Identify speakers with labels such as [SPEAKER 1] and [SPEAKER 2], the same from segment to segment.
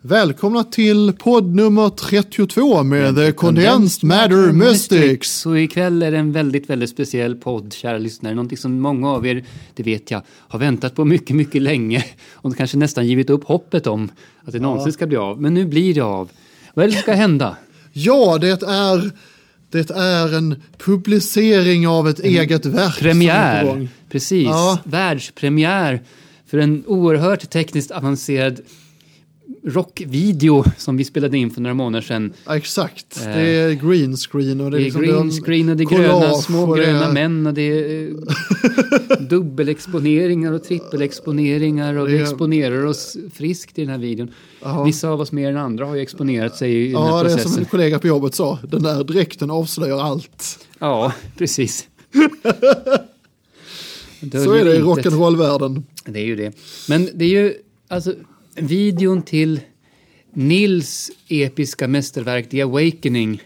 [SPEAKER 1] Välkomna till podd nummer 32 med The Condensed Matter Mystics.
[SPEAKER 2] Så ikväll är det en väldigt, väldigt speciell podd, kära lyssnare. Någonting som många av er, det vet jag, har väntat på mycket, mycket länge. Och kanske nästan givit upp hoppet om att det någonsin ska bli av. Men nu blir det av. Vad är det som ska hända?
[SPEAKER 1] Ja, det är, det är en publicering av ett eget verk. som är på
[SPEAKER 2] Premiär!
[SPEAKER 1] gång.
[SPEAKER 2] Precis,
[SPEAKER 1] Ja.
[SPEAKER 2] världspremiär för en oerhört tekniskt avancerad rockvideo som vi spelade in för några månader sedan.
[SPEAKER 1] Ja, exakt, det är green screen och det
[SPEAKER 2] Eh.
[SPEAKER 1] är,
[SPEAKER 2] Det är
[SPEAKER 1] liksom
[SPEAKER 2] green
[SPEAKER 1] de-
[SPEAKER 2] screen och det är
[SPEAKER 1] collage
[SPEAKER 2] gröna, små
[SPEAKER 1] och det är-
[SPEAKER 2] gröna män och det är eh, dubbelexponeringar och trippelexponeringar och vi
[SPEAKER 1] Det är-
[SPEAKER 2] exponerar oss friskt i den här videon. Vissa av oss mer än andra har ju exponerat sig i den
[SPEAKER 1] Ja,
[SPEAKER 2] här
[SPEAKER 1] det är som
[SPEAKER 2] processen.
[SPEAKER 1] en kollega på jobbet sa, den där dräkten avslöjar allt.
[SPEAKER 2] Ja, precis.
[SPEAKER 1] Så är det i
[SPEAKER 2] Döljer intet.
[SPEAKER 1] rock'n'roll-världen.
[SPEAKER 2] Det är ju det. Men det är ju, alltså, videon till Nils episka mästerverk The Awakening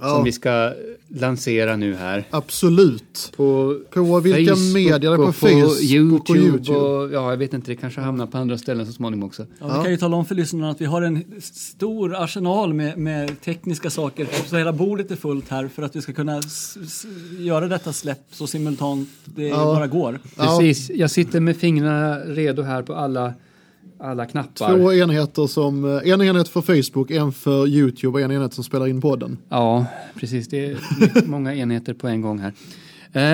[SPEAKER 1] Ja.
[SPEAKER 2] som vi ska lansera nu här.
[SPEAKER 1] Absolut.
[SPEAKER 2] På,
[SPEAKER 1] På vilka
[SPEAKER 2] Facebook
[SPEAKER 1] medier? På
[SPEAKER 2] och
[SPEAKER 1] Facebook och
[SPEAKER 2] YouTube,
[SPEAKER 1] YouTube.
[SPEAKER 2] och ja, jag vet inte, det kanske hamnar på andra ställen så småningom också.
[SPEAKER 3] Ja, vi kan ju tala om för lyssnarna att vi har en stor arsenal med, med tekniska saker. Så hela bordet är fullt här för att vi ska kunna s- s- göra detta släpp så simultant det bara går.
[SPEAKER 1] Ja.
[SPEAKER 2] Precis, jag sitter med fingrarna redo här på alla, alla knappar.
[SPEAKER 1] Två enheter som, eh, en enhet för Facebook, en för YouTube och en enhet som spelar in podden.
[SPEAKER 2] Ja, precis, det är mycket- många enheter på en gång här.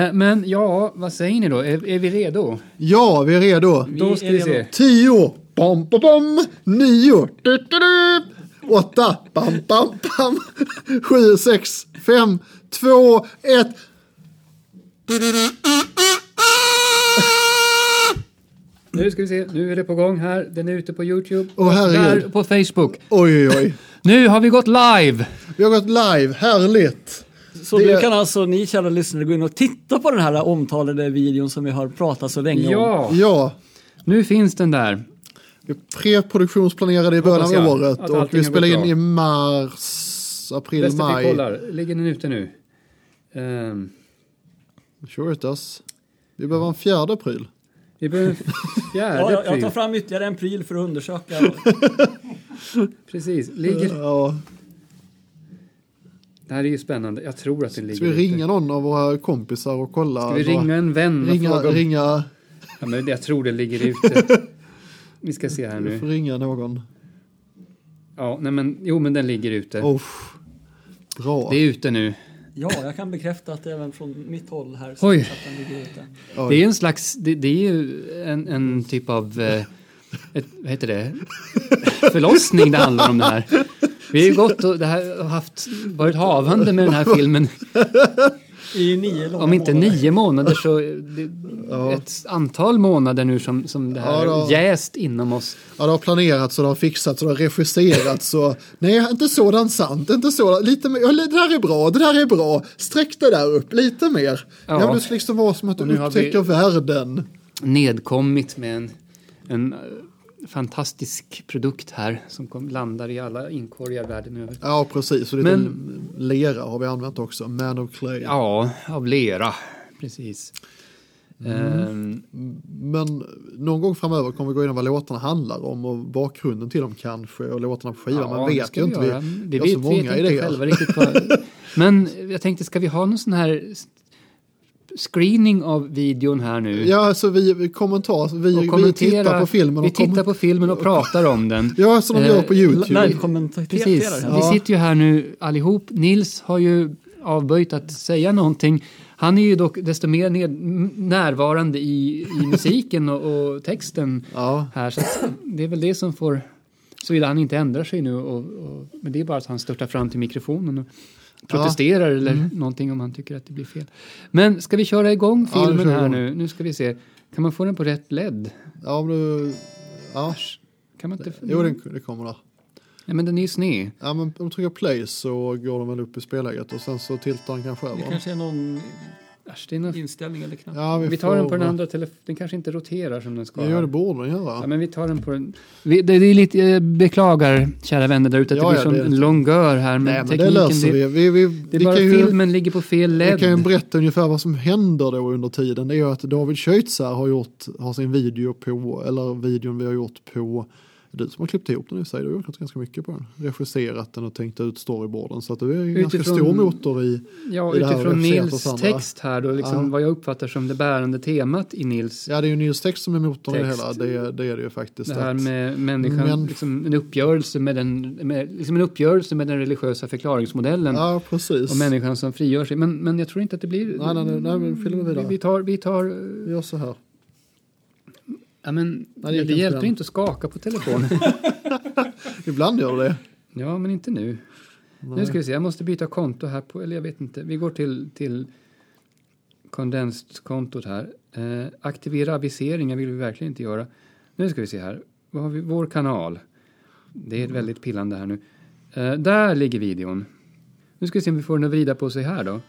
[SPEAKER 2] Eh, Men ja, vad säger ni då? Är, är vi redo?
[SPEAKER 1] Ja, vi är redo.
[SPEAKER 2] Då ska
[SPEAKER 3] är
[SPEAKER 2] vi
[SPEAKER 3] redo.
[SPEAKER 2] se.
[SPEAKER 1] Tio, bam, bam, bam, nio, du, du, du. åtta, bam, bam, bam, sju, sex, fem, två, ett.
[SPEAKER 2] Nu ska vi se, nu är det på gång här. Den är ute på YouTube.
[SPEAKER 1] Åh, herregud.
[SPEAKER 2] där på Facebook.
[SPEAKER 1] Oj, oj, oj.
[SPEAKER 2] Nu har vi gått live!
[SPEAKER 1] Vi har gått live, härligt.
[SPEAKER 3] Så
[SPEAKER 1] Det-
[SPEAKER 3] nu kan alltså ni kära lyssnare gå in och titta på den här omtalade videon som vi har pratat så länge om.
[SPEAKER 2] Ja,
[SPEAKER 1] Ja,
[SPEAKER 2] nu finns den där.
[SPEAKER 1] vi preproduktionsplanerade i
[SPEAKER 2] Hoppas
[SPEAKER 1] början av
[SPEAKER 2] jag
[SPEAKER 1] året
[SPEAKER 2] att
[SPEAKER 1] och
[SPEAKER 2] allting
[SPEAKER 1] vi
[SPEAKER 2] har
[SPEAKER 1] spelade
[SPEAKER 2] gått
[SPEAKER 1] in
[SPEAKER 2] bra.
[SPEAKER 1] i mars, april,
[SPEAKER 2] Bäst att vi
[SPEAKER 1] maj.
[SPEAKER 2] kollar. Ligger den ute nu? Ehm,
[SPEAKER 1] Sure it does. Vi behöver en fjärde april.
[SPEAKER 2] vi behöver en
[SPEAKER 3] Ja,
[SPEAKER 2] fjärde
[SPEAKER 3] jag, jag
[SPEAKER 2] pryl.
[SPEAKER 3] tar fram ytterligare en pryl för att undersöka.
[SPEAKER 2] Precis, ligger...
[SPEAKER 1] Ja.
[SPEAKER 2] Det här är ju spännande. Jag tror att den ligger
[SPEAKER 1] Ska vi
[SPEAKER 2] ute.
[SPEAKER 1] ringa någon av våra kompisar och kolla?
[SPEAKER 2] Ska vi
[SPEAKER 1] bara-
[SPEAKER 2] ringa en vän och
[SPEAKER 1] Ringa,
[SPEAKER 2] fråga? om-
[SPEAKER 1] ringa,
[SPEAKER 2] Ja, men jag tror den ligger ute. Vi ska se här
[SPEAKER 1] vi får
[SPEAKER 2] nu.
[SPEAKER 1] ringa någon.
[SPEAKER 2] Ja, nej men, jo men den ligger ute.
[SPEAKER 1] Oh, bra.
[SPEAKER 2] Det är ute nu.
[SPEAKER 3] Ja, jag kan bekräfta att det är även från mitt håll här.
[SPEAKER 2] Oj.
[SPEAKER 3] att den ligger ute.
[SPEAKER 1] Oj.
[SPEAKER 2] Det är en slags, det, det är ju en, en typ av, eh, ett, vad heter det, förlossning det handlar om det här. Vi har ju gått och det här, har haft, varit havande med den här filmen,
[SPEAKER 3] I nio långa
[SPEAKER 2] om inte
[SPEAKER 3] månader.
[SPEAKER 2] nio månader så eh, det, ett antal månader nu som, som det här
[SPEAKER 1] Ja, då.
[SPEAKER 2] jäst inom oss.
[SPEAKER 1] Ja, det har planerats och det har fixats och det har regisserats och nej, inte sådan sant, inte sådan, lite mer, ja, det där är bra, det där är bra, sträck det där upp lite mer. Ja,
[SPEAKER 2] Ja.
[SPEAKER 1] men det ska liksom vara som att du
[SPEAKER 2] nu har vi-
[SPEAKER 1] upptäcker världen.
[SPEAKER 2] Nedkommit med en, en eh, fantastisk produkt här som kom, landar i alla inkorgar världen över.
[SPEAKER 1] Ja, precis, och lite
[SPEAKER 2] Men-
[SPEAKER 1] lera har vi använt också, man of clay.
[SPEAKER 2] Ja, av lera, precis.
[SPEAKER 1] Mm.
[SPEAKER 2] Ehm,
[SPEAKER 1] Men någon gång framöver kommer vi gå igenom vad låtarna handlar om och bakgrunden till dem kanske och låtarna på skivan. Man
[SPEAKER 2] det
[SPEAKER 1] vet
[SPEAKER 2] ska
[SPEAKER 1] ju inte, vi,
[SPEAKER 2] göra.
[SPEAKER 1] vi
[SPEAKER 2] det
[SPEAKER 1] har
[SPEAKER 2] vet,
[SPEAKER 1] så många
[SPEAKER 2] vet inte
[SPEAKER 1] idéer.
[SPEAKER 2] själva riktigt vad... Men jag tänkte, ska vi ha någon sån här s- screening av videon här nu?
[SPEAKER 1] Ja, alltså vi, vi kommentar, vi, vi
[SPEAKER 2] kommentera-
[SPEAKER 1] tittar på filmen.
[SPEAKER 2] Vi
[SPEAKER 1] och kommer-
[SPEAKER 2] tittar på filmen och pratar om den.
[SPEAKER 1] Ja, som de gör
[SPEAKER 2] Eh,
[SPEAKER 1] på YouTube.
[SPEAKER 3] Nej, kommentera
[SPEAKER 2] Precis,
[SPEAKER 3] det här.
[SPEAKER 2] vi sitter ju här nu allihop. Nils har ju avböjt att säga någonting. Han är ju dock desto mer ned, m- närvarande i, i musiken och, och texten
[SPEAKER 1] Ja.
[SPEAKER 2] här. Så att det är väl det som får, såvida han inte ändrar sig nu. Och, och, men det är bara att han störtar fram till mikrofonen och protesterar eller
[SPEAKER 1] Mm.
[SPEAKER 2] någonting om han tycker att det blir fel. Men ska vi köra igång
[SPEAKER 1] Ja, vi
[SPEAKER 2] filmen
[SPEAKER 1] kör
[SPEAKER 2] här
[SPEAKER 1] igång.
[SPEAKER 2] nu? Nu ska vi se. Kan man få den på rätt LED?
[SPEAKER 1] Ja, om du... Ja,
[SPEAKER 2] Kan man inte...
[SPEAKER 1] jo, den, det kommer där.
[SPEAKER 2] Nej, men den är ju sned.
[SPEAKER 1] Ja, men om du trycker play så går de väl upp i spelläget och sen så tiltar den kanske
[SPEAKER 3] Det
[SPEAKER 1] över.
[SPEAKER 3] kanske är någon
[SPEAKER 2] Äsch, det är något
[SPEAKER 3] inställning eller knapp.
[SPEAKER 1] Ja,
[SPEAKER 2] Vi tar den på
[SPEAKER 1] får-
[SPEAKER 2] den andra telefonen, den kanske inte roterar som den ska.
[SPEAKER 1] Ja, det
[SPEAKER 2] här.
[SPEAKER 1] borde den
[SPEAKER 2] ja,
[SPEAKER 1] göra.
[SPEAKER 2] men vi tar den på den. Vi, det, det är lite, jag beklagar kära vänner där ute att
[SPEAKER 1] Ja,
[SPEAKER 2] det blir
[SPEAKER 1] ja,
[SPEAKER 2] som
[SPEAKER 1] det är
[SPEAKER 2] en
[SPEAKER 1] lite-
[SPEAKER 2] långör här men
[SPEAKER 1] Nej, men det
[SPEAKER 2] tekniken,
[SPEAKER 1] löser
[SPEAKER 2] det,
[SPEAKER 1] vi. Vi, vi,
[SPEAKER 2] det
[SPEAKER 1] vi
[SPEAKER 2] är bara
[SPEAKER 1] kan ju,
[SPEAKER 2] filmen ligger på fel
[SPEAKER 1] vi kan ju
[SPEAKER 2] LED.
[SPEAKER 1] berätta ungefär vad som händer då under tiden. Det är ju att David Schützer har gjort, har sin video på, eller videon vi har gjort på du som har klippt ihop den i sig, du har gjort ganska mycket på den. Regisserat den och tänkt ut storyboarden så att du är ju ganska
[SPEAKER 2] Utifrån-
[SPEAKER 1] stor motor i...
[SPEAKER 2] Ja,
[SPEAKER 1] i det här
[SPEAKER 2] utifrån
[SPEAKER 1] regisserat
[SPEAKER 2] Nils
[SPEAKER 1] hos andra.
[SPEAKER 2] text här då, liksom
[SPEAKER 1] Ja.
[SPEAKER 2] vad jag uppfattar som det bärande temat i Nils.
[SPEAKER 1] Ja, det är ju Nils text som är motorn i det
[SPEAKER 2] Text.
[SPEAKER 1] hela, det, det är det ju faktiskt.
[SPEAKER 2] Det här
[SPEAKER 1] att-
[SPEAKER 2] med människan,
[SPEAKER 1] Men-
[SPEAKER 2] liksom en uppgörelse med den, med, liksom en uppgörelse med den religiösa förklaringsmodellen
[SPEAKER 1] Ja, precis.
[SPEAKER 2] och människan som frigör sig. Men, men jag tror inte att det blir...
[SPEAKER 1] Nej, nej, nej, nej, men filmen vidare.
[SPEAKER 2] Vi tar, vi tar, eh,
[SPEAKER 1] Vi gör så här.
[SPEAKER 2] ja men,
[SPEAKER 1] Nej, det
[SPEAKER 2] det,
[SPEAKER 1] gick inte
[SPEAKER 2] hjälper
[SPEAKER 1] den.
[SPEAKER 2] inte att skaka på telefonen.
[SPEAKER 1] Ibland gör det det.
[SPEAKER 2] ja, men inte nu. Nu ska vi se, jag måste byta konto här på, eller jag vet inte, vi går till, till kondenskontot här. Eh, aktivera aviseringar vill vi verkligen inte göra. Nu ska vi se här, vad har vi, vår kanal. Det är väldigt pillande här nu. Eh, där ligger videon. Nu ska vi se om vi får den att vrida på sig här då.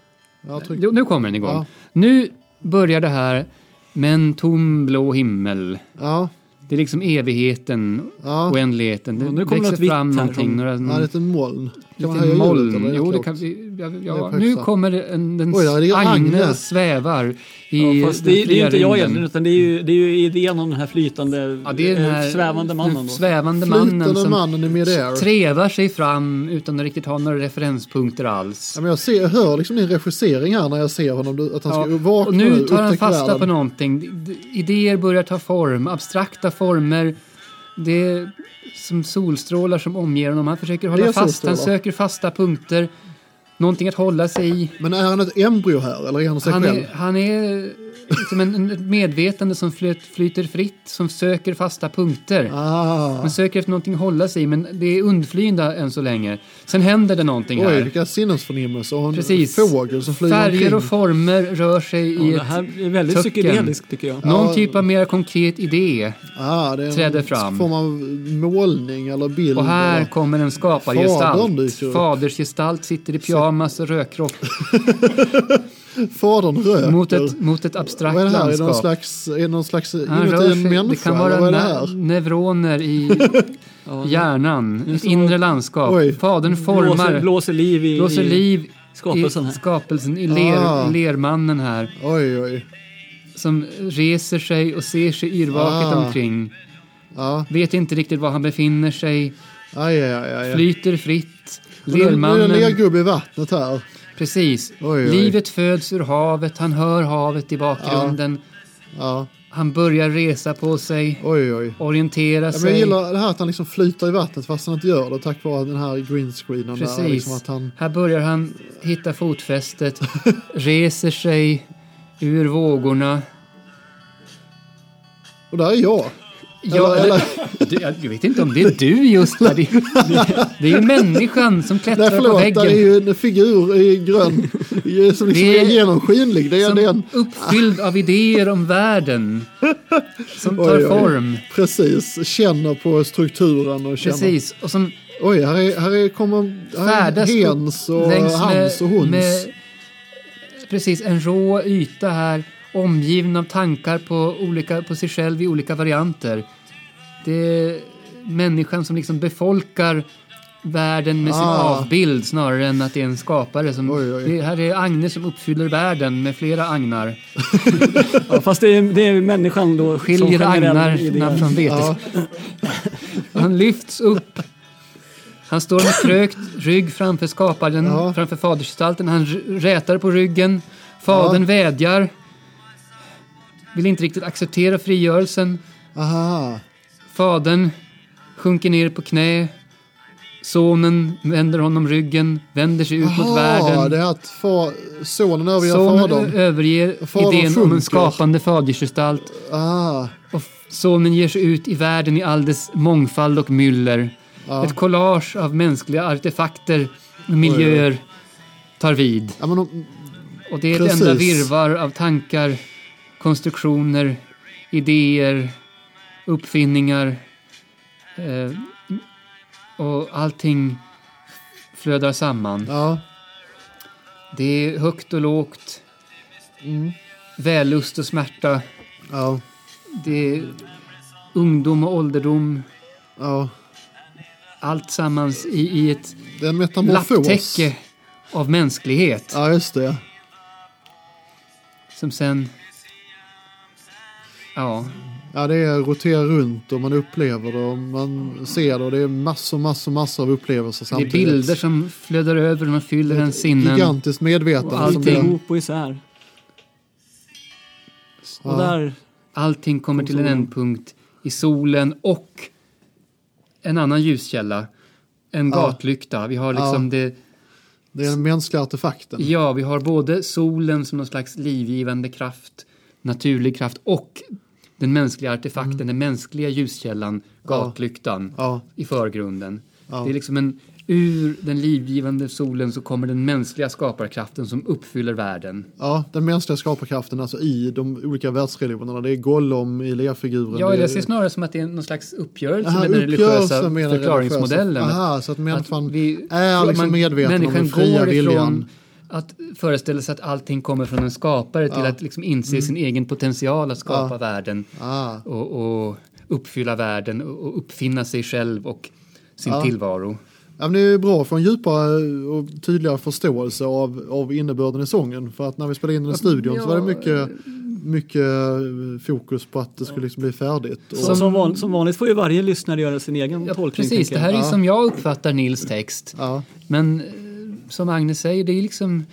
[SPEAKER 1] Jag tryck...
[SPEAKER 2] Jo, nu kommer den igång.
[SPEAKER 1] Ja.
[SPEAKER 2] Nu börjar det här med en tom blå himmel.
[SPEAKER 1] Ja,
[SPEAKER 2] Det är liksom evigheten,
[SPEAKER 1] ja.
[SPEAKER 2] oändligheten. Det
[SPEAKER 3] Ja, nu kommer något
[SPEAKER 2] växer
[SPEAKER 3] vitt
[SPEAKER 2] fram
[SPEAKER 3] här
[SPEAKER 2] någonting.
[SPEAKER 3] som-
[SPEAKER 2] några,
[SPEAKER 1] ja lite moln. Kan man höja
[SPEAKER 2] Lite
[SPEAKER 1] ljudet,
[SPEAKER 2] moln.
[SPEAKER 1] eller är
[SPEAKER 2] Jo, det
[SPEAKER 1] lågt?
[SPEAKER 2] kan vi... Ja,
[SPEAKER 1] är
[SPEAKER 2] ja,
[SPEAKER 1] på
[SPEAKER 2] nu
[SPEAKER 1] högsta.
[SPEAKER 2] kommer det en, en
[SPEAKER 1] Oj, där är det
[SPEAKER 2] agne
[SPEAKER 1] Agne.
[SPEAKER 2] svävar i
[SPEAKER 3] Ja, fast det, är- det är ju inte jag
[SPEAKER 2] rymden.
[SPEAKER 3] egentligen utan det är ju, det är ju idén om den här flytande,
[SPEAKER 2] Ja, det är den här
[SPEAKER 3] eh, svävande mannen.
[SPEAKER 2] den
[SPEAKER 3] Då.
[SPEAKER 2] Svävande mannen
[SPEAKER 1] Flytande
[SPEAKER 2] som
[SPEAKER 1] mannen i midair.
[SPEAKER 2] trevar sig fram utan att riktigt ha några referenspunkter alls.
[SPEAKER 1] Ja, men jag, ser, jag hör liksom din regissering här när jag ser honom, du- att han ska
[SPEAKER 2] Ja,
[SPEAKER 1] vakna
[SPEAKER 2] och nu tar han
[SPEAKER 1] upptäcka
[SPEAKER 2] fasta
[SPEAKER 1] världen.
[SPEAKER 2] på någonting. D- d- Idéer börjar ta form, abstrakta former. Det är som solstrålar som omger honom. Han försöker hålla fast, han
[SPEAKER 1] solstrålar.
[SPEAKER 2] söker fasta punkter. Någonting att hålla sig i.
[SPEAKER 1] Men är han ett embryo här eller är han sig
[SPEAKER 2] Han
[SPEAKER 1] själv?
[SPEAKER 2] är, han är liksom en, en ett medvetande som flöt, flyter fritt, som söker fasta punkter.
[SPEAKER 1] Ah,
[SPEAKER 2] Man söker efter någonting att hålla sig i, men det är undflyende än så länge. Sen händer det någonting
[SPEAKER 1] oj
[SPEAKER 2] här.
[SPEAKER 1] vilka sinnesförnimmelser. Och en
[SPEAKER 2] Precis.
[SPEAKER 1] fågel som flyger
[SPEAKER 2] Färger
[SPEAKER 1] omkring.
[SPEAKER 2] och former rör sig
[SPEAKER 3] Ja,
[SPEAKER 2] i
[SPEAKER 3] det
[SPEAKER 2] ett...
[SPEAKER 3] här är väldigt
[SPEAKER 2] töcken.
[SPEAKER 3] psykedeliskt tycker jag.
[SPEAKER 2] Någon
[SPEAKER 1] Ja.
[SPEAKER 2] typ av mer konkret idé.
[SPEAKER 1] ah, det är
[SPEAKER 2] träder
[SPEAKER 1] en
[SPEAKER 2] fram.
[SPEAKER 1] form av målning eller bild.
[SPEAKER 2] Och här
[SPEAKER 1] eller-
[SPEAKER 2] kommer en
[SPEAKER 1] Fadern dyker
[SPEAKER 2] skapargestalt.
[SPEAKER 1] upp.
[SPEAKER 2] Fadersgestalt sitter i pyjamas och rödkropp
[SPEAKER 1] Fadern röker.
[SPEAKER 2] mot ett, mot ett abstrakt
[SPEAKER 1] Vad är det här? Är det någon
[SPEAKER 2] landskap.
[SPEAKER 1] slags, är det någon slags
[SPEAKER 2] Han rör
[SPEAKER 1] inuti en
[SPEAKER 2] sig.
[SPEAKER 1] människa?
[SPEAKER 2] Det kan
[SPEAKER 1] eller
[SPEAKER 2] vara
[SPEAKER 1] vad är det
[SPEAKER 2] ne-
[SPEAKER 1] här?
[SPEAKER 2] neuroner i
[SPEAKER 3] Ja,
[SPEAKER 2] hjärnan, ett inre landskap.
[SPEAKER 1] Oj.
[SPEAKER 2] Fadern
[SPEAKER 3] blåser,
[SPEAKER 2] formar,
[SPEAKER 3] blåser liv i,
[SPEAKER 2] blåser liv
[SPEAKER 3] i
[SPEAKER 2] i
[SPEAKER 3] skapelsen här.
[SPEAKER 2] skapelsen, i ler,
[SPEAKER 1] Ah.
[SPEAKER 2] lermannen här.
[SPEAKER 1] Oj, oj.
[SPEAKER 2] Som reser sig och ser sig yrvaket
[SPEAKER 1] Ah.
[SPEAKER 2] omkring.
[SPEAKER 1] Ja,
[SPEAKER 2] Vet inte riktigt var han befinner sig.
[SPEAKER 1] aj, aj, aj. aj.
[SPEAKER 2] Flyter fritt.
[SPEAKER 1] Och nu- Nu är det en
[SPEAKER 2] Lermannen,
[SPEAKER 1] lergubbe i vattnet här.
[SPEAKER 2] precis.
[SPEAKER 1] Oj, oj.
[SPEAKER 2] Livet föds ur havet, han hör havet i bakgrunden.
[SPEAKER 1] Ja,
[SPEAKER 2] Han börjar resa på sig,
[SPEAKER 1] oj, oj.
[SPEAKER 2] orientera
[SPEAKER 1] Ja, men jag
[SPEAKER 2] sig.
[SPEAKER 1] gillar det här att han liksom flyter i vattnet fast han inte gör det tack vare den här greenscreenen. Där,
[SPEAKER 2] Precis.
[SPEAKER 1] liksom att han,
[SPEAKER 2] Här börjar han hitta fotfästet, reser sig ur vågorna.
[SPEAKER 1] och där är jag.
[SPEAKER 2] Ja,
[SPEAKER 1] Eller-
[SPEAKER 2] eller, Du, jag vet inte om det är du just där. Det, det, det är ju människan som
[SPEAKER 1] Nej
[SPEAKER 2] klättrar på
[SPEAKER 1] förlåt, där
[SPEAKER 2] väggen.
[SPEAKER 1] är ju en figur i grön i- som liksom
[SPEAKER 2] Det
[SPEAKER 1] är
[SPEAKER 2] är-
[SPEAKER 1] genomskinlig. Det är,
[SPEAKER 2] som
[SPEAKER 1] det är en,
[SPEAKER 2] uppfylld av idéer om världen. Som tar
[SPEAKER 1] Oj, oj.
[SPEAKER 2] form.
[SPEAKER 1] precis, känner på strukturen och känner.
[SPEAKER 2] Precis. Och som
[SPEAKER 1] Oj, här, är, här är, kommer här är
[SPEAKER 2] färdas
[SPEAKER 1] hens och
[SPEAKER 2] längs
[SPEAKER 1] hans och hons.
[SPEAKER 2] med- precis, en rå yta här. Omgiven av tankar på, olika, på sig själv i olika varianter. Det är människan som liksom befolkar världen med sin
[SPEAKER 1] Ah.
[SPEAKER 2] avbild snarare än att det är en skapare. Som,
[SPEAKER 1] Oj, oj.
[SPEAKER 2] Det här är Agne som uppfyller världen med flera agnar.
[SPEAKER 3] Ja, fast det är, det är människan då
[SPEAKER 2] Skiljer
[SPEAKER 3] som generell
[SPEAKER 2] agnarna
[SPEAKER 3] idé.
[SPEAKER 2] från vetet.
[SPEAKER 1] Ja,
[SPEAKER 2] Han lyfts upp. Han står med krökt rygg framför skaparen,
[SPEAKER 1] Ja.
[SPEAKER 2] framför fadersgestalten. Han r- rätar på ryggen. Fadern
[SPEAKER 1] Ja.
[SPEAKER 2] vädjar. Vill inte riktigt acceptera frigörelsen.
[SPEAKER 1] aha.
[SPEAKER 2] Fadern sjunker ner på knä. Sonen vänder honom ryggen, vänder sig ut mot
[SPEAKER 1] Jaha,
[SPEAKER 2] världen.
[SPEAKER 1] det är att fa, sonen överger
[SPEAKER 2] Sonen
[SPEAKER 1] fadern.
[SPEAKER 2] överger
[SPEAKER 1] Fadern
[SPEAKER 2] idén om
[SPEAKER 1] sjunker.
[SPEAKER 2] en skapande fadersgestalt
[SPEAKER 1] Ah,
[SPEAKER 2] och f- sonen ger sig ut i världen i all dess mångfald och myller.
[SPEAKER 1] Ja.
[SPEAKER 2] Ett collage av mänskliga artefakter och miljöer tar vid.
[SPEAKER 1] ja, men, om-
[SPEAKER 2] Och det är ett
[SPEAKER 1] Precis.
[SPEAKER 2] enda virvar av tankar, konstruktioner, idéer, uppfinningar. Eh, och allting flödar samman.
[SPEAKER 1] ja.
[SPEAKER 2] Det är högt och lågt,
[SPEAKER 1] Mm,
[SPEAKER 2] vällust och smärta.
[SPEAKER 1] ja,
[SPEAKER 2] Det är ungdom och ålderdom.
[SPEAKER 1] ja.
[SPEAKER 2] allt sammans i, i ett
[SPEAKER 1] Det är en metamorfos.
[SPEAKER 2] lapptäcke av mänsklighet
[SPEAKER 1] Ja, just det.
[SPEAKER 2] som sen... Ja,
[SPEAKER 1] Ja, det är rotera runt och man upplever det och man ser det och det är massor, massor, massor av upplevelser
[SPEAKER 2] Det är
[SPEAKER 1] samtidigt.
[SPEAKER 2] bilder som flödar över, man fyller ens sinnen.
[SPEAKER 1] Gigantiskt medvetande.
[SPEAKER 3] Och
[SPEAKER 1] som
[SPEAKER 3] allt är
[SPEAKER 1] blir,
[SPEAKER 3] ihop och isär. Och
[SPEAKER 1] Ja.
[SPEAKER 3] där,
[SPEAKER 2] Allting kommer till en ändpunkt i solen och en annan ljuskälla. En
[SPEAKER 1] Ja.
[SPEAKER 2] gatlykta. Vi har liksom det,
[SPEAKER 1] det är den mänskliga artefakten.
[SPEAKER 2] ja, vi har både solen som någon slags livgivande kraft, naturlig kraft och den mänskliga artefakten,
[SPEAKER 1] Mm.
[SPEAKER 2] den mänskliga ljuskällan, gatlyktan
[SPEAKER 1] Ja,
[SPEAKER 2] i förgrunden.
[SPEAKER 1] Ja.
[SPEAKER 2] Det är liksom en, ur den livgivande solen så kommer den mänskliga skaparkraften som uppfyller världen.
[SPEAKER 1] ja, den mänskliga skaparkraften alltså i de olika världsreligionerna. Det är Gollum i lerfiguren.
[SPEAKER 2] Ja,
[SPEAKER 1] det är-
[SPEAKER 2] jag ser snarare som att det är någon slags uppgörelse
[SPEAKER 1] Aha,
[SPEAKER 2] med den religiösa
[SPEAKER 1] uppgörelsen med den religiösa.
[SPEAKER 2] förklaringsmodellen.
[SPEAKER 1] Aha, så att människan
[SPEAKER 2] vi-
[SPEAKER 1] är liksom medveten om
[SPEAKER 2] människan
[SPEAKER 1] den fria
[SPEAKER 2] går ifrån
[SPEAKER 1] viljan.
[SPEAKER 2] att föreställa sig att allting kommer från en skapare till att liksom inse
[SPEAKER 1] Mm.
[SPEAKER 2] sin egen potential att skapa världen
[SPEAKER 1] Ah,
[SPEAKER 2] och, och uppfylla världen och, och uppfinna sig själv och sin
[SPEAKER 1] Ja.
[SPEAKER 2] tillvaro.
[SPEAKER 1] ja, men det är bra för en djupare eh, och tydligare förståelse av, av innebörden i sången. För att när vi spelade in den i studion så var det mycket, mycket fokus på att det skulle liksom bli färdigt. Och,
[SPEAKER 3] som, som, van, som vanligt får ju varje lyssnare göra sin egen
[SPEAKER 2] Ja,
[SPEAKER 3] tolkning.
[SPEAKER 2] precis,
[SPEAKER 3] tänker
[SPEAKER 2] det
[SPEAKER 3] jag.
[SPEAKER 2] här är ju som jag uppfattar Nils text.
[SPEAKER 1] ja,
[SPEAKER 2] Men eh, som Agnes säger, det är liksom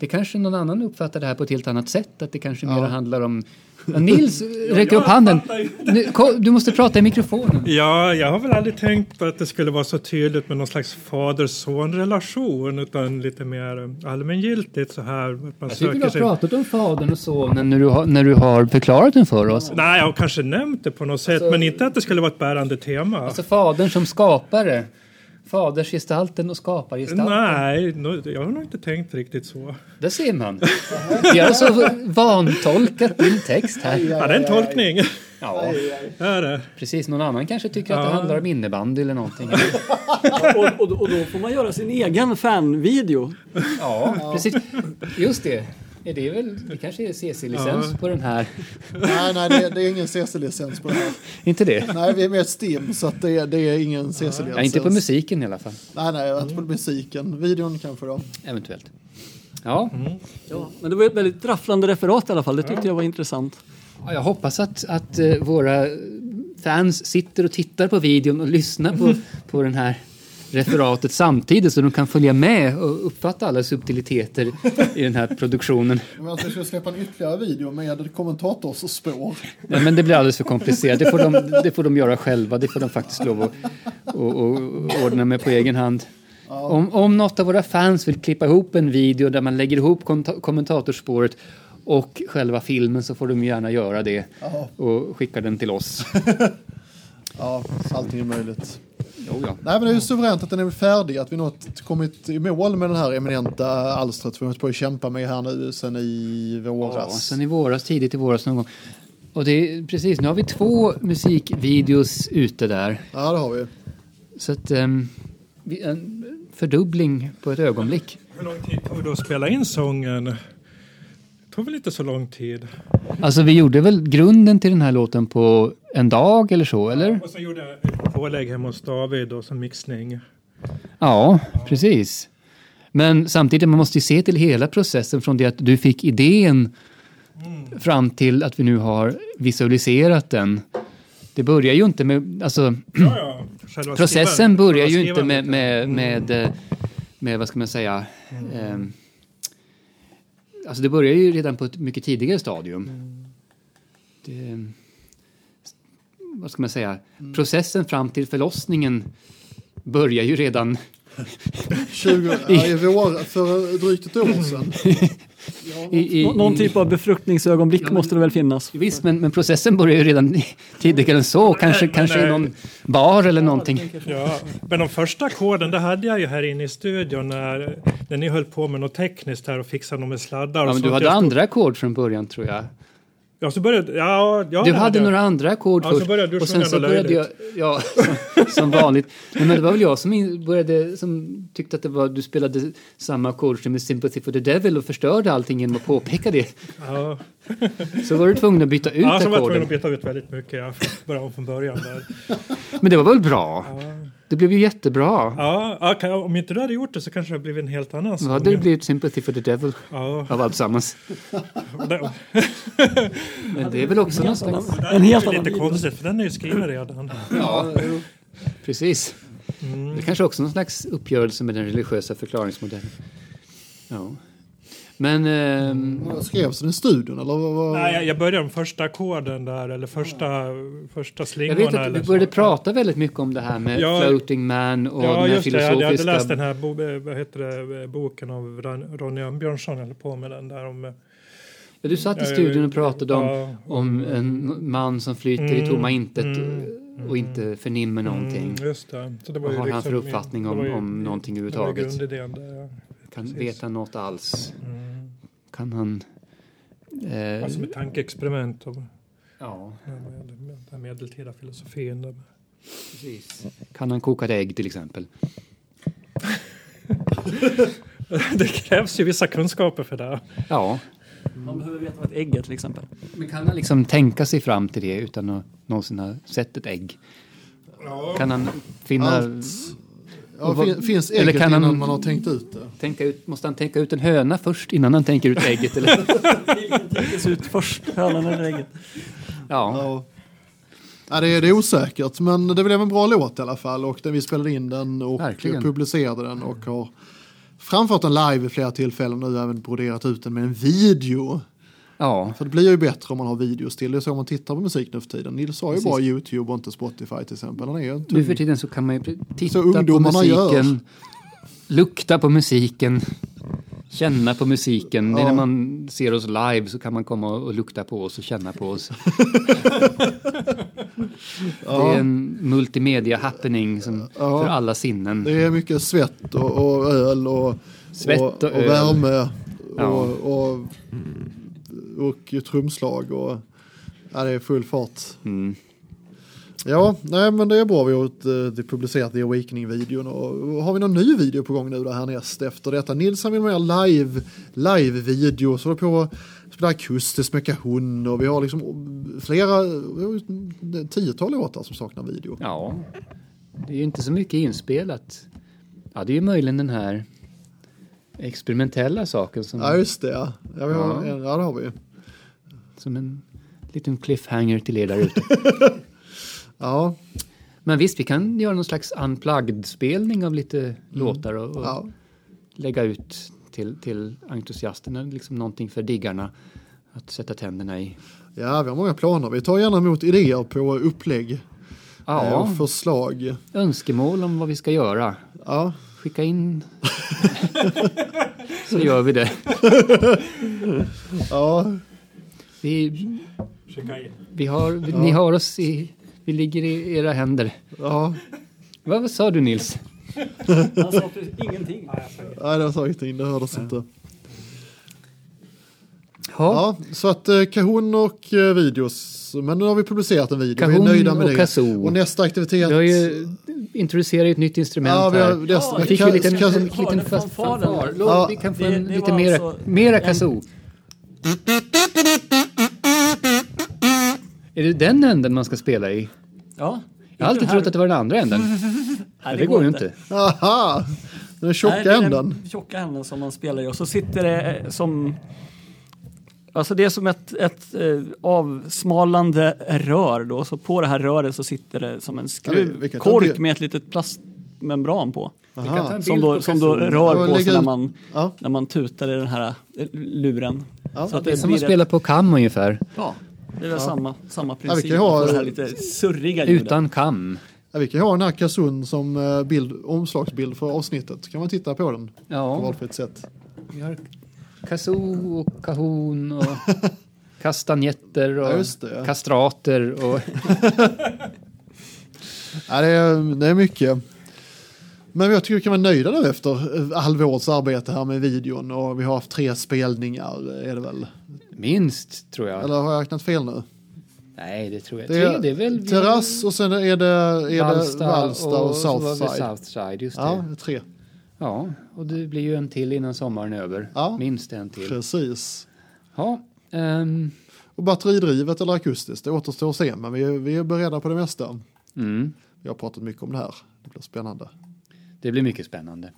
[SPEAKER 2] det kanske någon annan uppfattar det här på ett helt annat sätt. Att det kanske mer handlar om... Ja, Nils, räcker upp handen. Nu, ko- du måste prata i mikrofonen.
[SPEAKER 4] Ja, jag har väl aldrig tänkt på att det skulle vara så tydligt med någon slags fader-son-relation utan lite mer eh, allmängiltigt så här. Att man
[SPEAKER 2] Jag tycker du
[SPEAKER 4] söker
[SPEAKER 2] har
[SPEAKER 4] sig...
[SPEAKER 2] pratat om fadern och sonen när du har, när du har förklarat den för oss.
[SPEAKER 4] Nej, jag har kanske nämnt det på något sätt, men inte att det skulle vara ett bärande tema.
[SPEAKER 2] Alltså fadern som skapare. Fadersgestalten och skapargestalten.
[SPEAKER 4] Nej, no- jag har nog inte tänkt riktigt så.
[SPEAKER 2] Där ser man. Vi har alltså vantolkat din text här.
[SPEAKER 4] Ja, det är en tolkning.
[SPEAKER 2] Ja,
[SPEAKER 4] Det är det.
[SPEAKER 2] precis. Någon annan kanske tycker att det
[SPEAKER 4] Ja.
[SPEAKER 2] handlar om innebandy eller någonting.
[SPEAKER 3] och, och, och då får man göra sin egen fanvideo.
[SPEAKER 2] Ja, precis. Just det. Ja, Det, är väl, det kanske är CC-licens på den här.
[SPEAKER 1] nej, nej, det, det är ingen CC-licens på det här.
[SPEAKER 2] Inte det?
[SPEAKER 1] Nej, vi är med ett STIM så att det, är- det är ingen CC-licens.
[SPEAKER 2] Ja, inte på musiken i alla fall.
[SPEAKER 1] Nej, nej, inte på musiken. Videon kanske då.
[SPEAKER 2] Eventuellt. Ja,
[SPEAKER 3] Ja, men det var ju ett väldigt rafflande referat i alla fall. Det tyckte jag var intressant.
[SPEAKER 2] Ja, jag hoppas att, att eh, våra fans sitter och tittar på videon och lyssnar på, på den här referatet samtidigt så de kan följa med och uppfatta alla subtiliteter i den här produktionen.
[SPEAKER 1] Om jag ska släppa en ytterligare video med kommentatorsspår.
[SPEAKER 2] Nej, men det blir alldeles för komplicerat. Det får de, det får de göra själva. Det får de faktiskt lov att att- att ordna med på egen hand. Om, om något av våra fans vill klippa ihop en video där man lägger ihop komta- kommentatorspåret och själva filmen så får de gärna göra det
[SPEAKER 1] Ja.
[SPEAKER 2] och skicka den till oss.
[SPEAKER 1] Ja, allting är möjligt.
[SPEAKER 2] Jo, ja.
[SPEAKER 1] Nej, men det är ju suveränt att den är färdig, att vi nått kommit i mål med det här eminenta alstret vi har hållit på att kämpa med här nu sen i
[SPEAKER 2] Ja,
[SPEAKER 1] våras.
[SPEAKER 2] sen i våras, tidigt i våras någon gång. Och det är precis, nu har vi två musikvideos ute där.
[SPEAKER 1] Ja, det har vi.
[SPEAKER 2] Så att ehm, vi- en fördubbling på ett ögonblick.
[SPEAKER 4] Hur lång tid tog det att spela in sången? Det tog väl inte så lång tid.
[SPEAKER 2] Alltså vi gjorde väl grunden till den här låten på en dag eller så, eller?
[SPEAKER 4] Och så gjorde jag ett pålägg hemma hos David och som mixning.
[SPEAKER 2] Mm. Ja, precis. Men samtidigt, man måste ju se till hela processen från det att du fick idén fram till att vi nu har visualiserat den. Det börjar ju inte med, alltså
[SPEAKER 4] Ja, ja. Själva
[SPEAKER 2] Processen
[SPEAKER 4] skrivan-
[SPEAKER 2] börjar
[SPEAKER 4] själva
[SPEAKER 2] ju inte med,
[SPEAKER 4] skrivandet.
[SPEAKER 2] med, med, eh, med, vad ska man säga, ehm, alltså det börjar ju redan på ett mycket tidigare stadium. Det, vad ska man säga,
[SPEAKER 4] Mm.
[SPEAKER 2] processen fram till förlossningen börjar ju redan
[SPEAKER 1] 20, ja, i vår, för drygt ett år sedan.
[SPEAKER 2] i, i,
[SPEAKER 3] Nå- någon
[SPEAKER 2] i-
[SPEAKER 3] typ av befruktningsögonblick måste det väl finnas.
[SPEAKER 2] Visst, men, men processen börjar ju redan tidigare än så, kanske,
[SPEAKER 4] men
[SPEAKER 2] kanske i
[SPEAKER 4] nej.
[SPEAKER 2] någon bar eller någonting.
[SPEAKER 4] Ja, men de första ackorden, det hade jag ju här inne i studion när, när ni höll på med något tekniskt här och fixade något med sladdar. och
[SPEAKER 2] Ja, men
[SPEAKER 4] sånt.
[SPEAKER 2] du hade
[SPEAKER 4] Alltså, Jag stod-
[SPEAKER 2] andra ackord från början tror jag.
[SPEAKER 4] Ja, så började... Ja, ja
[SPEAKER 2] Du
[SPEAKER 4] det
[SPEAKER 2] hade
[SPEAKER 4] jag.
[SPEAKER 2] några andra ackord
[SPEAKER 4] Ja, så
[SPEAKER 2] först.
[SPEAKER 4] började du
[SPEAKER 2] och sen
[SPEAKER 4] sjunga
[SPEAKER 2] så
[SPEAKER 4] något
[SPEAKER 2] började jag,
[SPEAKER 4] löjligt.
[SPEAKER 2] ja, som, som vanligt. Nej, men det var väl jag som in- började, som tyckte att det var, du spelade samma ackord som i Sympathy for the Devil och förstörde allting genom att påpeka det.
[SPEAKER 4] Ja,
[SPEAKER 2] Så var du tvungen att byta ut
[SPEAKER 4] ja så var jag
[SPEAKER 2] ackorden.
[SPEAKER 4] tvungen att byta ut väldigt mycket. Jag började om från början där.
[SPEAKER 2] Men det var väl bra? Det blev ju jättebra.
[SPEAKER 4] Ja, ja, kan- om inte du hade gjort det så kanske det hade blivit en helt annan
[SPEAKER 2] Då
[SPEAKER 4] sång.
[SPEAKER 2] hade det blivit Sympathy for the Devil
[SPEAKER 4] Ja,
[SPEAKER 2] av alltsammans.
[SPEAKER 4] det
[SPEAKER 2] Men det är väl också någon slags...
[SPEAKER 3] En helt
[SPEAKER 4] är
[SPEAKER 3] annan
[SPEAKER 4] lite
[SPEAKER 3] video.
[SPEAKER 4] konstigt för den är ju skriven redan.
[SPEAKER 2] Ja, precis.
[SPEAKER 4] Mm.
[SPEAKER 2] Det kanske också är någon slags uppgörelse med den religiösa förklaringsmodellen. Ja. Men... ehm,
[SPEAKER 1] Skrevs den i studion eller? Vad, vad?
[SPEAKER 4] Nej, jag- jag började med första ackorden där, eller första, första
[SPEAKER 2] Jag
[SPEAKER 4] slingorna.
[SPEAKER 2] vet att
[SPEAKER 4] eller
[SPEAKER 2] vi började
[SPEAKER 4] så.
[SPEAKER 2] prata väldigt mycket om det här med
[SPEAKER 4] Ja,
[SPEAKER 2] floating man och
[SPEAKER 4] Ja,
[SPEAKER 2] den här
[SPEAKER 4] just det. Jag hade
[SPEAKER 2] filosofiska...
[SPEAKER 4] läst den här bo, eh, vad heter det, eh, boken av Ran- Ronny Ambjörnsson, eller på med den där om... eh,
[SPEAKER 2] Ja, du satt i
[SPEAKER 4] Ja, ja,
[SPEAKER 2] studion och
[SPEAKER 4] ja,
[SPEAKER 2] pratade om,
[SPEAKER 4] ja.
[SPEAKER 2] om en man som flyter i
[SPEAKER 4] Mm,
[SPEAKER 2] tomma intet
[SPEAKER 4] mm,
[SPEAKER 2] och inte förnimmer någonting.
[SPEAKER 4] Mm, just det. Så det var
[SPEAKER 2] Vad
[SPEAKER 4] ju
[SPEAKER 2] har han för
[SPEAKER 4] liksom-
[SPEAKER 2] uppfattning
[SPEAKER 4] det
[SPEAKER 2] om,
[SPEAKER 4] var ju-
[SPEAKER 2] om någonting
[SPEAKER 4] det var ju
[SPEAKER 2] överhuvudtaget?
[SPEAKER 4] grundidén där, ja.
[SPEAKER 2] Kan
[SPEAKER 4] precis.
[SPEAKER 2] veta något alls?
[SPEAKER 4] Mm.
[SPEAKER 2] Kan han... Eh,
[SPEAKER 4] Alltså med tankeexperiment om
[SPEAKER 2] ja,
[SPEAKER 4] den här medeltida filosofin. där.
[SPEAKER 2] precis. Kan han koka ett ägg till exempel?
[SPEAKER 4] Det krävs ju vissa kunskaper för det.
[SPEAKER 2] Ja,
[SPEAKER 3] Man behöver veta vad ett ägg är till exempel.
[SPEAKER 2] men kan han liksom tänka sig fram till det utan att någonsin ha sett ett ägg? Kan han finna...
[SPEAKER 1] Allt. Ja,
[SPEAKER 2] Och vad-
[SPEAKER 1] fin- finns
[SPEAKER 2] eller
[SPEAKER 1] ägget
[SPEAKER 2] kan han-
[SPEAKER 1] innan man har tänkt ut det?
[SPEAKER 2] Tänka ut, måste han tänka ut en höna först innan han tänker ut ägget? Eller?
[SPEAKER 3] Det ser ut först, hönan eller ägget.
[SPEAKER 2] Ja.
[SPEAKER 1] Ja. Ja, det, är, det är osäkert, men det blev en bra låt i alla fall. Och den, vi spelade in den och
[SPEAKER 2] Verkligen.
[SPEAKER 1] publicerade den och har framfört den live i flera tillfällen och nu även broderat ut den med en video.
[SPEAKER 2] ja.
[SPEAKER 1] För det blir ju bättre om man har videos till. Det är så man tittar på musik nu för tiden. Nils har ju
[SPEAKER 2] Precis.
[SPEAKER 1] bara YouTube och inte Spotify till exempel. Han är ju en
[SPEAKER 2] Nu
[SPEAKER 1] tung...
[SPEAKER 2] för tiden så kan man ju pre-
[SPEAKER 1] Så
[SPEAKER 2] titta på
[SPEAKER 1] ungdomarna gör.
[SPEAKER 2] musiken, lukta på musiken, känna på musiken. Det är
[SPEAKER 1] Ja.
[SPEAKER 2] när man ser oss live så kan man komma och lukta på oss och känna på oss. Det är en multimedia-happening som
[SPEAKER 1] Ja.
[SPEAKER 2] för alla sinnen.
[SPEAKER 1] Det är mycket svett och, och öl och,
[SPEAKER 2] Svett och
[SPEAKER 1] och, och
[SPEAKER 2] öl.
[SPEAKER 1] värme
[SPEAKER 2] Ja.
[SPEAKER 1] och, och, och, trumslag. Och, ja, det är full fart.
[SPEAKER 2] Mm.
[SPEAKER 1] Ja, nej men det är bra vi har gjort, eh, det publicerat The Awakening-videon. Och har vi någon ny video på gång nu där härnäst efter detta? Nils han vill ha mer live, live-video. Så vi på att spela akustiskt, smäcka hund och vi har liksom flera, vi har ju ett tiotal låtar som saknar video.
[SPEAKER 2] Ja, det är ju inte så mycket inspelat. Ja, det är ju möjligen den här experimentella saken som,
[SPEAKER 1] Ja, just det. Ja, ja, vi har,
[SPEAKER 2] Ja.
[SPEAKER 1] ja. ja det har vi.
[SPEAKER 2] som en liten cliffhanger till er där ute.
[SPEAKER 1] Ja,
[SPEAKER 2] Men visst, vi kan göra någon slags unplugged-spelning av lite låtar och,
[SPEAKER 1] Mm.
[SPEAKER 2] och
[SPEAKER 1] ja.
[SPEAKER 2] lägga ut till, till entusiasterna, liksom någonting för diggarna att sätta tänderna i.
[SPEAKER 1] ja, vi har många planer. Vi tar gärna emot idéer på upplägg eh,
[SPEAKER 2] Ja,
[SPEAKER 1] och förslag.
[SPEAKER 2] önskemål om vad vi ska göra.
[SPEAKER 1] Ja,
[SPEAKER 2] Skicka in så gör vi det.
[SPEAKER 1] ja.
[SPEAKER 2] Vi,
[SPEAKER 4] Skicka in.
[SPEAKER 2] vi har, Ni har oss i... Vi ligger i era händer.
[SPEAKER 1] ja.
[SPEAKER 2] Vad, vad sa du Nils?
[SPEAKER 3] Han sa precis ingenting.
[SPEAKER 1] Nej, det var sagt in, det hördes inte.
[SPEAKER 2] Ja,
[SPEAKER 1] Ja, så att eh, Kahoon och eh, videos. Men nu har vi publicerat en video. vi
[SPEAKER 2] Kahoon
[SPEAKER 1] är nöjda med
[SPEAKER 2] och
[SPEAKER 1] det.
[SPEAKER 2] Kazoo.
[SPEAKER 1] Och nästa aktivitet.
[SPEAKER 2] vi har ju introducerat ett nytt instrument
[SPEAKER 1] ja, vi har,
[SPEAKER 2] här.
[SPEAKER 1] det,
[SPEAKER 3] Ja,
[SPEAKER 2] Vi fick ju en liten,
[SPEAKER 1] Kaz-
[SPEAKER 2] liten,
[SPEAKER 3] Har
[SPEAKER 2] liten
[SPEAKER 3] den
[SPEAKER 2] fast
[SPEAKER 3] fanfaren?
[SPEAKER 2] fanfar. Låt,
[SPEAKER 1] Ja.
[SPEAKER 2] vi kan få
[SPEAKER 3] Det-
[SPEAKER 2] en
[SPEAKER 3] det
[SPEAKER 2] lite
[SPEAKER 3] var
[SPEAKER 2] mera,
[SPEAKER 3] alltså
[SPEAKER 2] mera
[SPEAKER 3] en-
[SPEAKER 2] kazoo. Är det den änden man ska spela i?
[SPEAKER 3] Ja.
[SPEAKER 2] Jag har alltid trott att det var den andra änden.
[SPEAKER 3] Nej,
[SPEAKER 2] Men det går ju inte.
[SPEAKER 1] Aha! Den
[SPEAKER 3] Nej, det
[SPEAKER 1] tjocka
[SPEAKER 3] är
[SPEAKER 1] änden.
[SPEAKER 3] Den tjocka änden som man spelar i och så sitter det eh, som... Alltså det är som ett, ett eh, avsmalande rör då, så på det här röret så sitter det som en
[SPEAKER 1] Ja, vi- vi kan ta en
[SPEAKER 3] skruvkork
[SPEAKER 1] bild.
[SPEAKER 3] med ett litet plastmembran på.
[SPEAKER 2] kan ta
[SPEAKER 1] Aha.
[SPEAKER 2] en-
[SPEAKER 3] Som
[SPEAKER 2] bild
[SPEAKER 3] då,
[SPEAKER 2] på
[SPEAKER 3] som då
[SPEAKER 2] kazoon.
[SPEAKER 1] Ja,
[SPEAKER 3] rör på
[SPEAKER 1] lägg
[SPEAKER 3] sig när
[SPEAKER 1] ut.
[SPEAKER 3] man,
[SPEAKER 1] Ja.
[SPEAKER 3] när man tutar i den här eh, luren.
[SPEAKER 1] Ja,
[SPEAKER 3] så att
[SPEAKER 2] Det är
[SPEAKER 3] det
[SPEAKER 2] som att
[SPEAKER 3] blir
[SPEAKER 2] spela på kam ungefär.
[SPEAKER 3] ett, Ja, det är väl samma, samma
[SPEAKER 1] kan
[SPEAKER 3] princip.
[SPEAKER 1] ju ha-
[SPEAKER 3] på det här lite surriga ljudet.
[SPEAKER 2] Utan kam.
[SPEAKER 1] Ja, vi kan ju ha den här Kazun som eh, bild, omslagsbild för avsnittet. Kan man titta på den på
[SPEAKER 2] Ja,
[SPEAKER 1] valfritt sätt.
[SPEAKER 2] vi har kazoo och kahon och kastanjetter och
[SPEAKER 1] Ja, just det, ja.
[SPEAKER 2] kastrater och...
[SPEAKER 1] Ja, det, är, det är mycket. Men jag tycker vi kan vara nöjda nu efter eh, halvårets arbete här med videon och vi har haft tre spelningar eh, är det väl?
[SPEAKER 2] Minst, tror jag.
[SPEAKER 1] Eller har jag räknat fel nu?
[SPEAKER 2] Nej, det tror jag
[SPEAKER 1] Det är,
[SPEAKER 2] inte. Det är väl...
[SPEAKER 1] Terrass och sen är det, är det Valsta och,
[SPEAKER 2] så var vi
[SPEAKER 1] Southside.
[SPEAKER 2] Southside, just
[SPEAKER 1] Ja,
[SPEAKER 2] det.
[SPEAKER 1] tre.
[SPEAKER 2] Ja, och det blir ju en till innan sommaren är över.
[SPEAKER 1] Ja.
[SPEAKER 2] Minst en till.
[SPEAKER 1] Precis.
[SPEAKER 2] Ja, ehm,
[SPEAKER 1] Och batteridrivet eller akustiskt, det återstår att se, men vi är, vi är beredda på det mesta.
[SPEAKER 2] mm.
[SPEAKER 1] Vi har pratat mycket om det här. det blir spännande.
[SPEAKER 2] Det blir mycket spännande.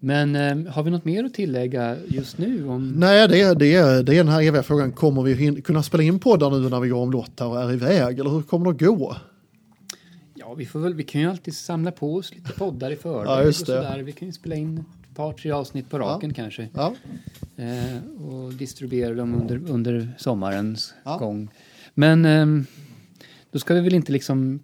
[SPEAKER 2] Men eh, har vi något mer att tillägga just nu? Om...
[SPEAKER 1] Nej, det, är- det, är- det är den här eviga frågan. Kommer vi hin- kunna spela in poddar nu när vi går omlott här och är iväg? Eller hur kommer det att gå?
[SPEAKER 2] Ja, vi, får väl, vi kan ju alltid samla på oss lite poddar i förväg.
[SPEAKER 1] Ja, just
[SPEAKER 2] och
[SPEAKER 1] det.
[SPEAKER 2] sådär. Vi kan ju spela in ett par, tre avsnitt på raken kanske.
[SPEAKER 1] Ja,
[SPEAKER 2] Eh, och distribuera dem under, under sommarens
[SPEAKER 1] Ja.
[SPEAKER 2] gång. Men ehm, då ska vi väl inte liksom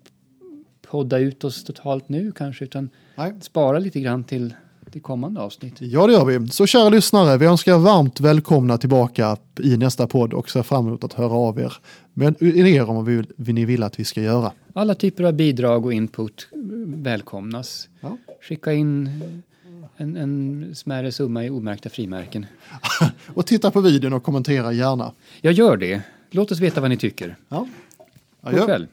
[SPEAKER 2] podda ut oss totalt nu kanske, utan
[SPEAKER 1] nej.
[SPEAKER 2] spara lite grann till det kommande avsnitt.
[SPEAKER 1] ja det gör vi. Så kära lyssnare, vi önskar er varmt välkomna tillbaka i nästa podd och ser fram emot att höra av er med idéer om vad vi vill- vad ni vill att vi ska göra.
[SPEAKER 2] Alla typer av bidrag och input eh, välkomnas.
[SPEAKER 1] Ja.
[SPEAKER 2] Skicka in en, en smärre summa i omärkta frimärken.
[SPEAKER 1] Och titta på videon och kommentera gärna.
[SPEAKER 2] Jag gör det. Låt oss veta vad ni tycker.
[SPEAKER 1] Ja. Adjö.
[SPEAKER 2] God kväll.